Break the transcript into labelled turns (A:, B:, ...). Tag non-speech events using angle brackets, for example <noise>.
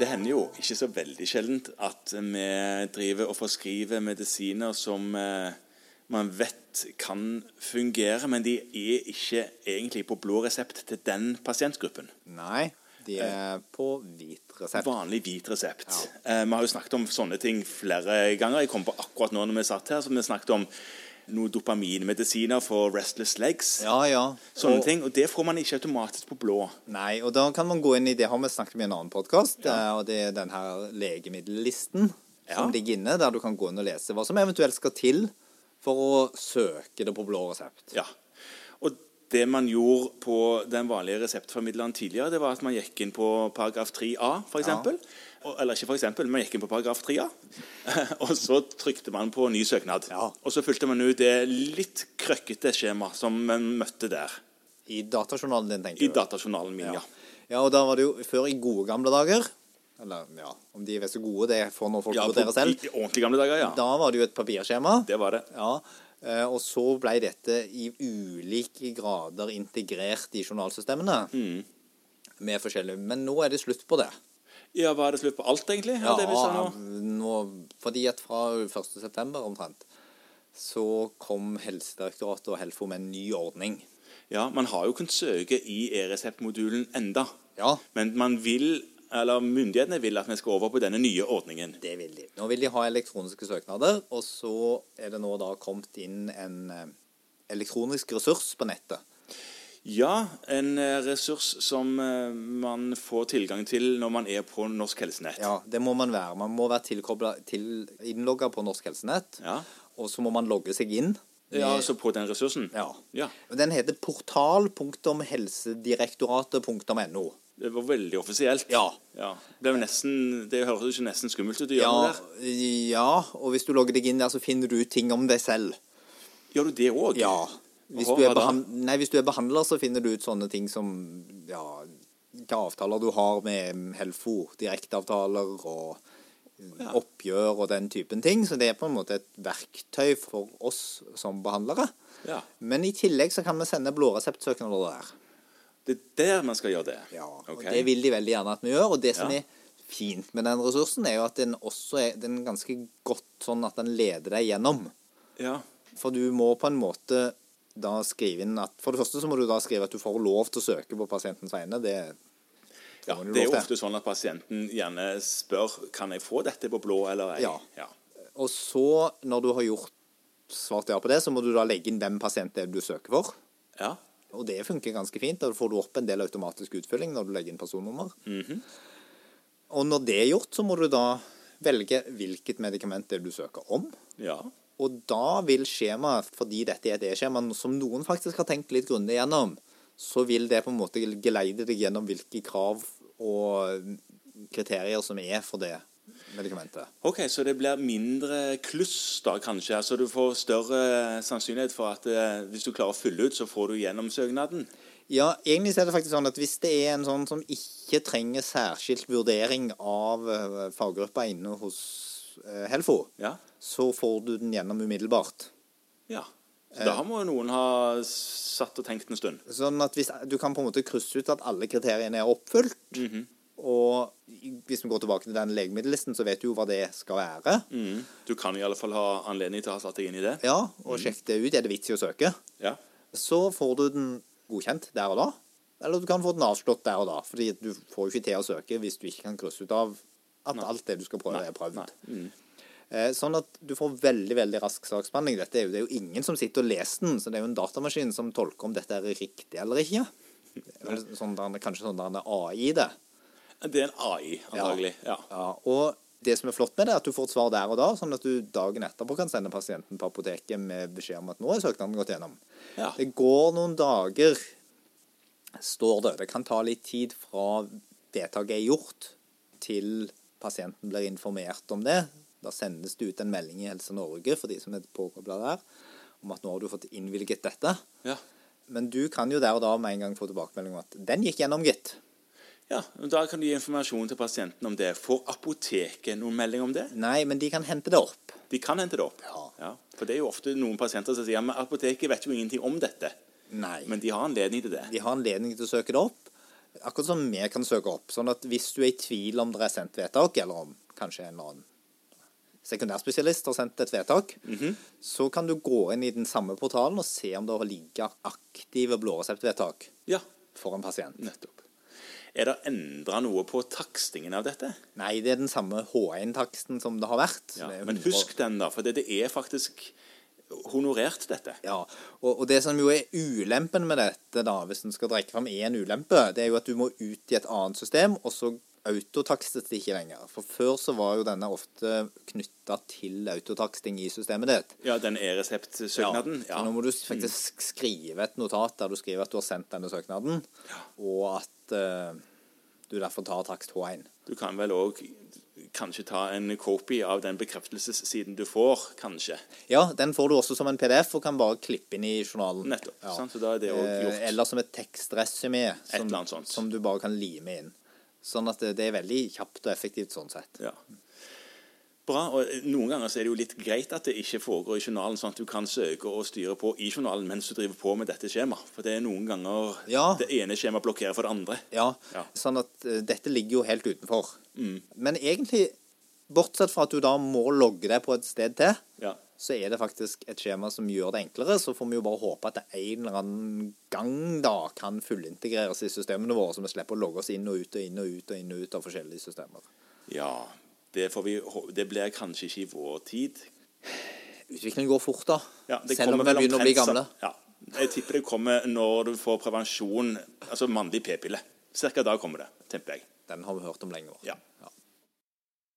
A: Det hender jo ikke så veldig sjeldent at vi driver og forskriver medisiner som eh, man vet kan fungere, men de er ikke egentlig på blå resept til den pasientgruppen.
B: Nei, de
A: Eh.
B: er på hvit resept.
A: Vanlig hvit resept. Eh, Vi har jo snakket om sånne ting flere ganger. Jeg kom på akkurat nå når vi satt her, så vi snakket om noen dopaminmedisiner for restless legs.
B: Ja, ja.
A: Sånne
B: Og-
A: ting. Og det får man ikke automatisk på blå.
B: Sånn Nei, og da kan man gå inn i det har vi snakket om i en annen podkast, og det er den her legemiddellisten
A: Ja.
B: som ligger inne, der du kan gå inn og lese hva som eventuelt skal til for å søke det på blå resept.
A: Ja. Og det man gjorde på den vanlige reseptformidleren tidligere, det var at man gikk inn på paragraf 3A, for eksempel. Og- Eller ikke for eksempel, man gikk inn på paragraf 3A. <laughs> Og så trykte man på ny søknad.
B: Ja.
A: Og så fulgte man ut det litt krøkkete skjemaet som man møtte der.
B: I datajournalen din,
A: I
B: tenker du.
A: datajournalen min, ja.
B: Ja, og da var det jo før i gode gamle dager Eller ja, om de er så gode, det får nå folk
A: Ja,
B: vurdere
A: på, I
B: selv.
A: i ordentlig gamle dager, ja.
B: Da var det jo et papirskjema.
A: Det var det.
B: Ja, eh, og så ble dette i ulike grader integrert i journalsystemene.
A: Mm.
B: Med forskjellige, Men nå er det slutt på det.
A: Ja, Var det slutt på alt, egentlig? av det vi sa nå?
B: nå, fordi at fra 1. september omtrent, så kom Helsedirektoratet og Helfo med en ny ordning.
A: Ja, man har jo kunnet søke i e-reseptmodulen enda.
B: Ja.
A: Men man vil, eller myndighetene vil at vi skal over på denne nye ordningen.
B: Det vil de. Nå vil de ha elektroniske søknader, og så er det nå da kommet inn en eh, elektronisk ressurs på nettet.
A: Ja, en eh, ressurs som eh, man får tilgang til når man er på Norsk Helsenett.
B: Ja, det må man være. Man må være tilkoblet til innlogga på Norsk Helsenett.
A: Ja.
B: Og så må man logge seg inn. med-
A: Ja, altså på den ressursen?
B: Ja.
A: ja.
B: Den heter portal.helsedirektoratet.no.
A: Det var veldig offisielt.
B: Ja.
A: Det, ble jo nesten, det høres jo ikke nesten skummelt ut å gjøre
B: Ja,
A: det der.
B: ja, og hvis du logger deg inn der, så finner du ut ting om deg selv.
A: Gjør du det òg?
B: Ja. Hvis
A: Åhå,
B: du er,
A: hva da?
B: behand nei, hvis du er behandler, så finner du ut sånne ting som ja, hvilke avtaler du har med Helfo. Direkteavtaler og
A: Ja.
B: oppgjør og den typen ting. Så det er på en måte et verktøy for oss som behandlere.
A: Ja.
B: Men i tillegg så kan vi sende blåreseptsøknader der.
A: Det er der man skal gjøre det?
B: Ja, og
A: Ok.
B: Det vil de veldig gjerne at vi gjør. Og det som
A: Ja.
B: er fint med den ressursen, er jo at den også er den er ganske godt sånn at den leder deg gjennom.
A: ja.
B: For du må på en måte da skrive inn at For det første så må du da skrive at du får lov til å søke på pasientens vegne. Det
A: Ja,
B: får man
A: det er jo
B: lov til.
A: ofte sånn at pasienten gjerne spør kan jeg få dette på blå eller ei.
B: Ja. Og så, når du har gjort svart ja på det, så må du da legge inn hvem pasient det er du søker for.
A: Ja.
B: Og det funker ganske fint. Da får du opp en del automatisk utfylling når du legger inn personnummer. Og når det er gjort, så må du da velge hvilket medikament det er du søker om.
A: ja.
B: Og da vil skjemaet, fordi dette er et e-skjema som noen faktisk har tenkt litt grundig gjennom, så vil det på en måte geleide deg gjennom hvilke krav og kriterier som er for det medikamentet.
A: Ok, så det blir mindre kluss da, kanskje? Altså du får større sannsynlighet for at eh, hvis du klarer å fylle ut, så får du gjennom søknaden?
B: Ja, egentlig så er det faktisk sånn at hvis det er en sånn som ikke trenger særskilt vurdering av eh, faggruppa inne hos eh, Helfo,
A: Ja.
B: så får du den gjennom umiddelbart.
A: ja. Så da må jo noen ha satt og tenkt en stund.
B: Sånn at hvis, du kan på en måte krysse ut at alle kriteriene er oppfylt. Og hvis vi går tilbake til den legemiddellisten, så vet du jo hva det skal være.
A: Mm. Du kan i alle fall ha anledning til å ha satt deg inn i det.
B: Ja, Og sjekk det ut. Er det vits i å søke?
A: Ja.
B: Så får du den godkjent der og da. Eller du kan få den avslått der og da. Fordi du får jo ikke til å søke hvis du ikke kan krysse ut av at alt det du skal prøve, er prøvd. Eh, Sånn at du får veldig veldig rask saksbehandling. Dette er jo, det er jo ingen som sitter og leser den, så det er jo en datamaskin som tolker om dette er riktig eller ikke. Det er vel Sånn der, kanskje sånn der en AI det.
A: Det er en AI, antagelig. Ja.
B: Ja, og det som er flott med det, er at du får et svar der og da, sånn at du dagen etterpå kan sende pasienten på apoteket med beskjed om at nå er søknaden gått gjennom.
A: Ja.
B: Det går noen dager, står det. Det kan ta litt tid fra vedtaket er gjort, til pasienten blir informert om det. Da sendes det ut en melding i Helse Norge for de som er påkobla der, om at nå har du fått innvilget dette.
A: Ja.
B: Men du kan jo der og da med en gang få tilbakemelding om at den gikk gjennom, gitt.
A: ja. Da kan du gi informasjon til pasienten om det. Får apoteket noen melding om det?
B: Nei, men de kan hente det opp.
A: De kan hente det opp.
B: Ja.
A: For det er jo ofte noen pasienter som sier men apoteket vet jo ingenting om dette.
B: Nei.
A: Men de har anledning til det.
B: De har anledning til å søke det opp. Akkurat som vi kan søke opp. sånn at hvis du er i tvil om det er sendt vedtak, eller om kanskje en eller annen sekundærspesialist har sendt et vedtak,
A: Mhm.
B: så kan du gå inn i den samme portalen og se om det har ligget aktive blåreseptvedtak
A: Ja,
B: for en pasient.
A: nettopp. Er det endra noe på takstingen av dette?
B: Nei, det er den samme H1-taksten som det har vært.
A: Ja,
B: Det er
A: men
B: 100.
A: husk den, da, for det, det er faktisk honorert, dette.
B: Ja, og, og det som jo er ulempen med dette, da, hvis en skal trekke fram én ulempe, det er jo at du må ut i et annet system, og så autotakstes det ikke lenger. For før så var jo denne ofte knytta til autotaksting i systemet ditt.
A: Ja, den e-reseptsøknaden.
B: Så
A: Ja.
B: nå må du faktisk skrive et notat der du skriver at du har sendt denne søknaden, og at eh, du derfor tar takst H1.
A: Du kan vel òg kanskje ta en copy av den bekreftelsessiden du får, kanskje.
B: Ja, den får du også som en PDF og kan bare klippe inn i journalen.
A: Nettopp,
B: Ja.
A: sant, så da er det også
B: Eh,
A: gjort.
B: Eller som et tekstresymé
A: eller
B: som,
A: annet sånt.
B: som du bare kan lime inn. Sånn at det, det er veldig kjapt og effektivt sånn sett.
A: Ja. Bra. og eh, Noen ganger så er det jo litt greit at det ikke foregår i journalen, sånn at du kan søke og styre på i journalen mens du driver på med dette skjemaet. For det er noen ganger
B: Ja.
A: det ene skjemaet blokkerer for det andre.
B: Ja,
A: Ja. Mm.
B: Sånn at eh, dette ligger jo helt utenfor. Men egentlig, bortsett fra at du da må logge deg på et sted til,
A: Ja.
B: så er det faktisk et skjema som gjør det enklere. Så får vi jo bare håpe at det en eller annen gang da kan fullintegreres i systemene våre, så vi slipper å logge oss inn og ut og inn og ut og inn og ut av forskjellige systemer.
A: ja. Det, får vi, hå- det blir kanskje ikke i vår tid.
B: Utviklingen går fort, da.
A: Ja, det
B: Selv om
A: kommer
B: vi
A: vel
B: begynner å bli
A: omtrent
B: gamle.
A: så- Ja. Jeg tipper det kommer når du får prevensjon, altså mannlig p-pille. Cirka da kommer det, tenker jeg.
B: Den har vi hørt om lenge. også.
A: Ja.
B: Ja.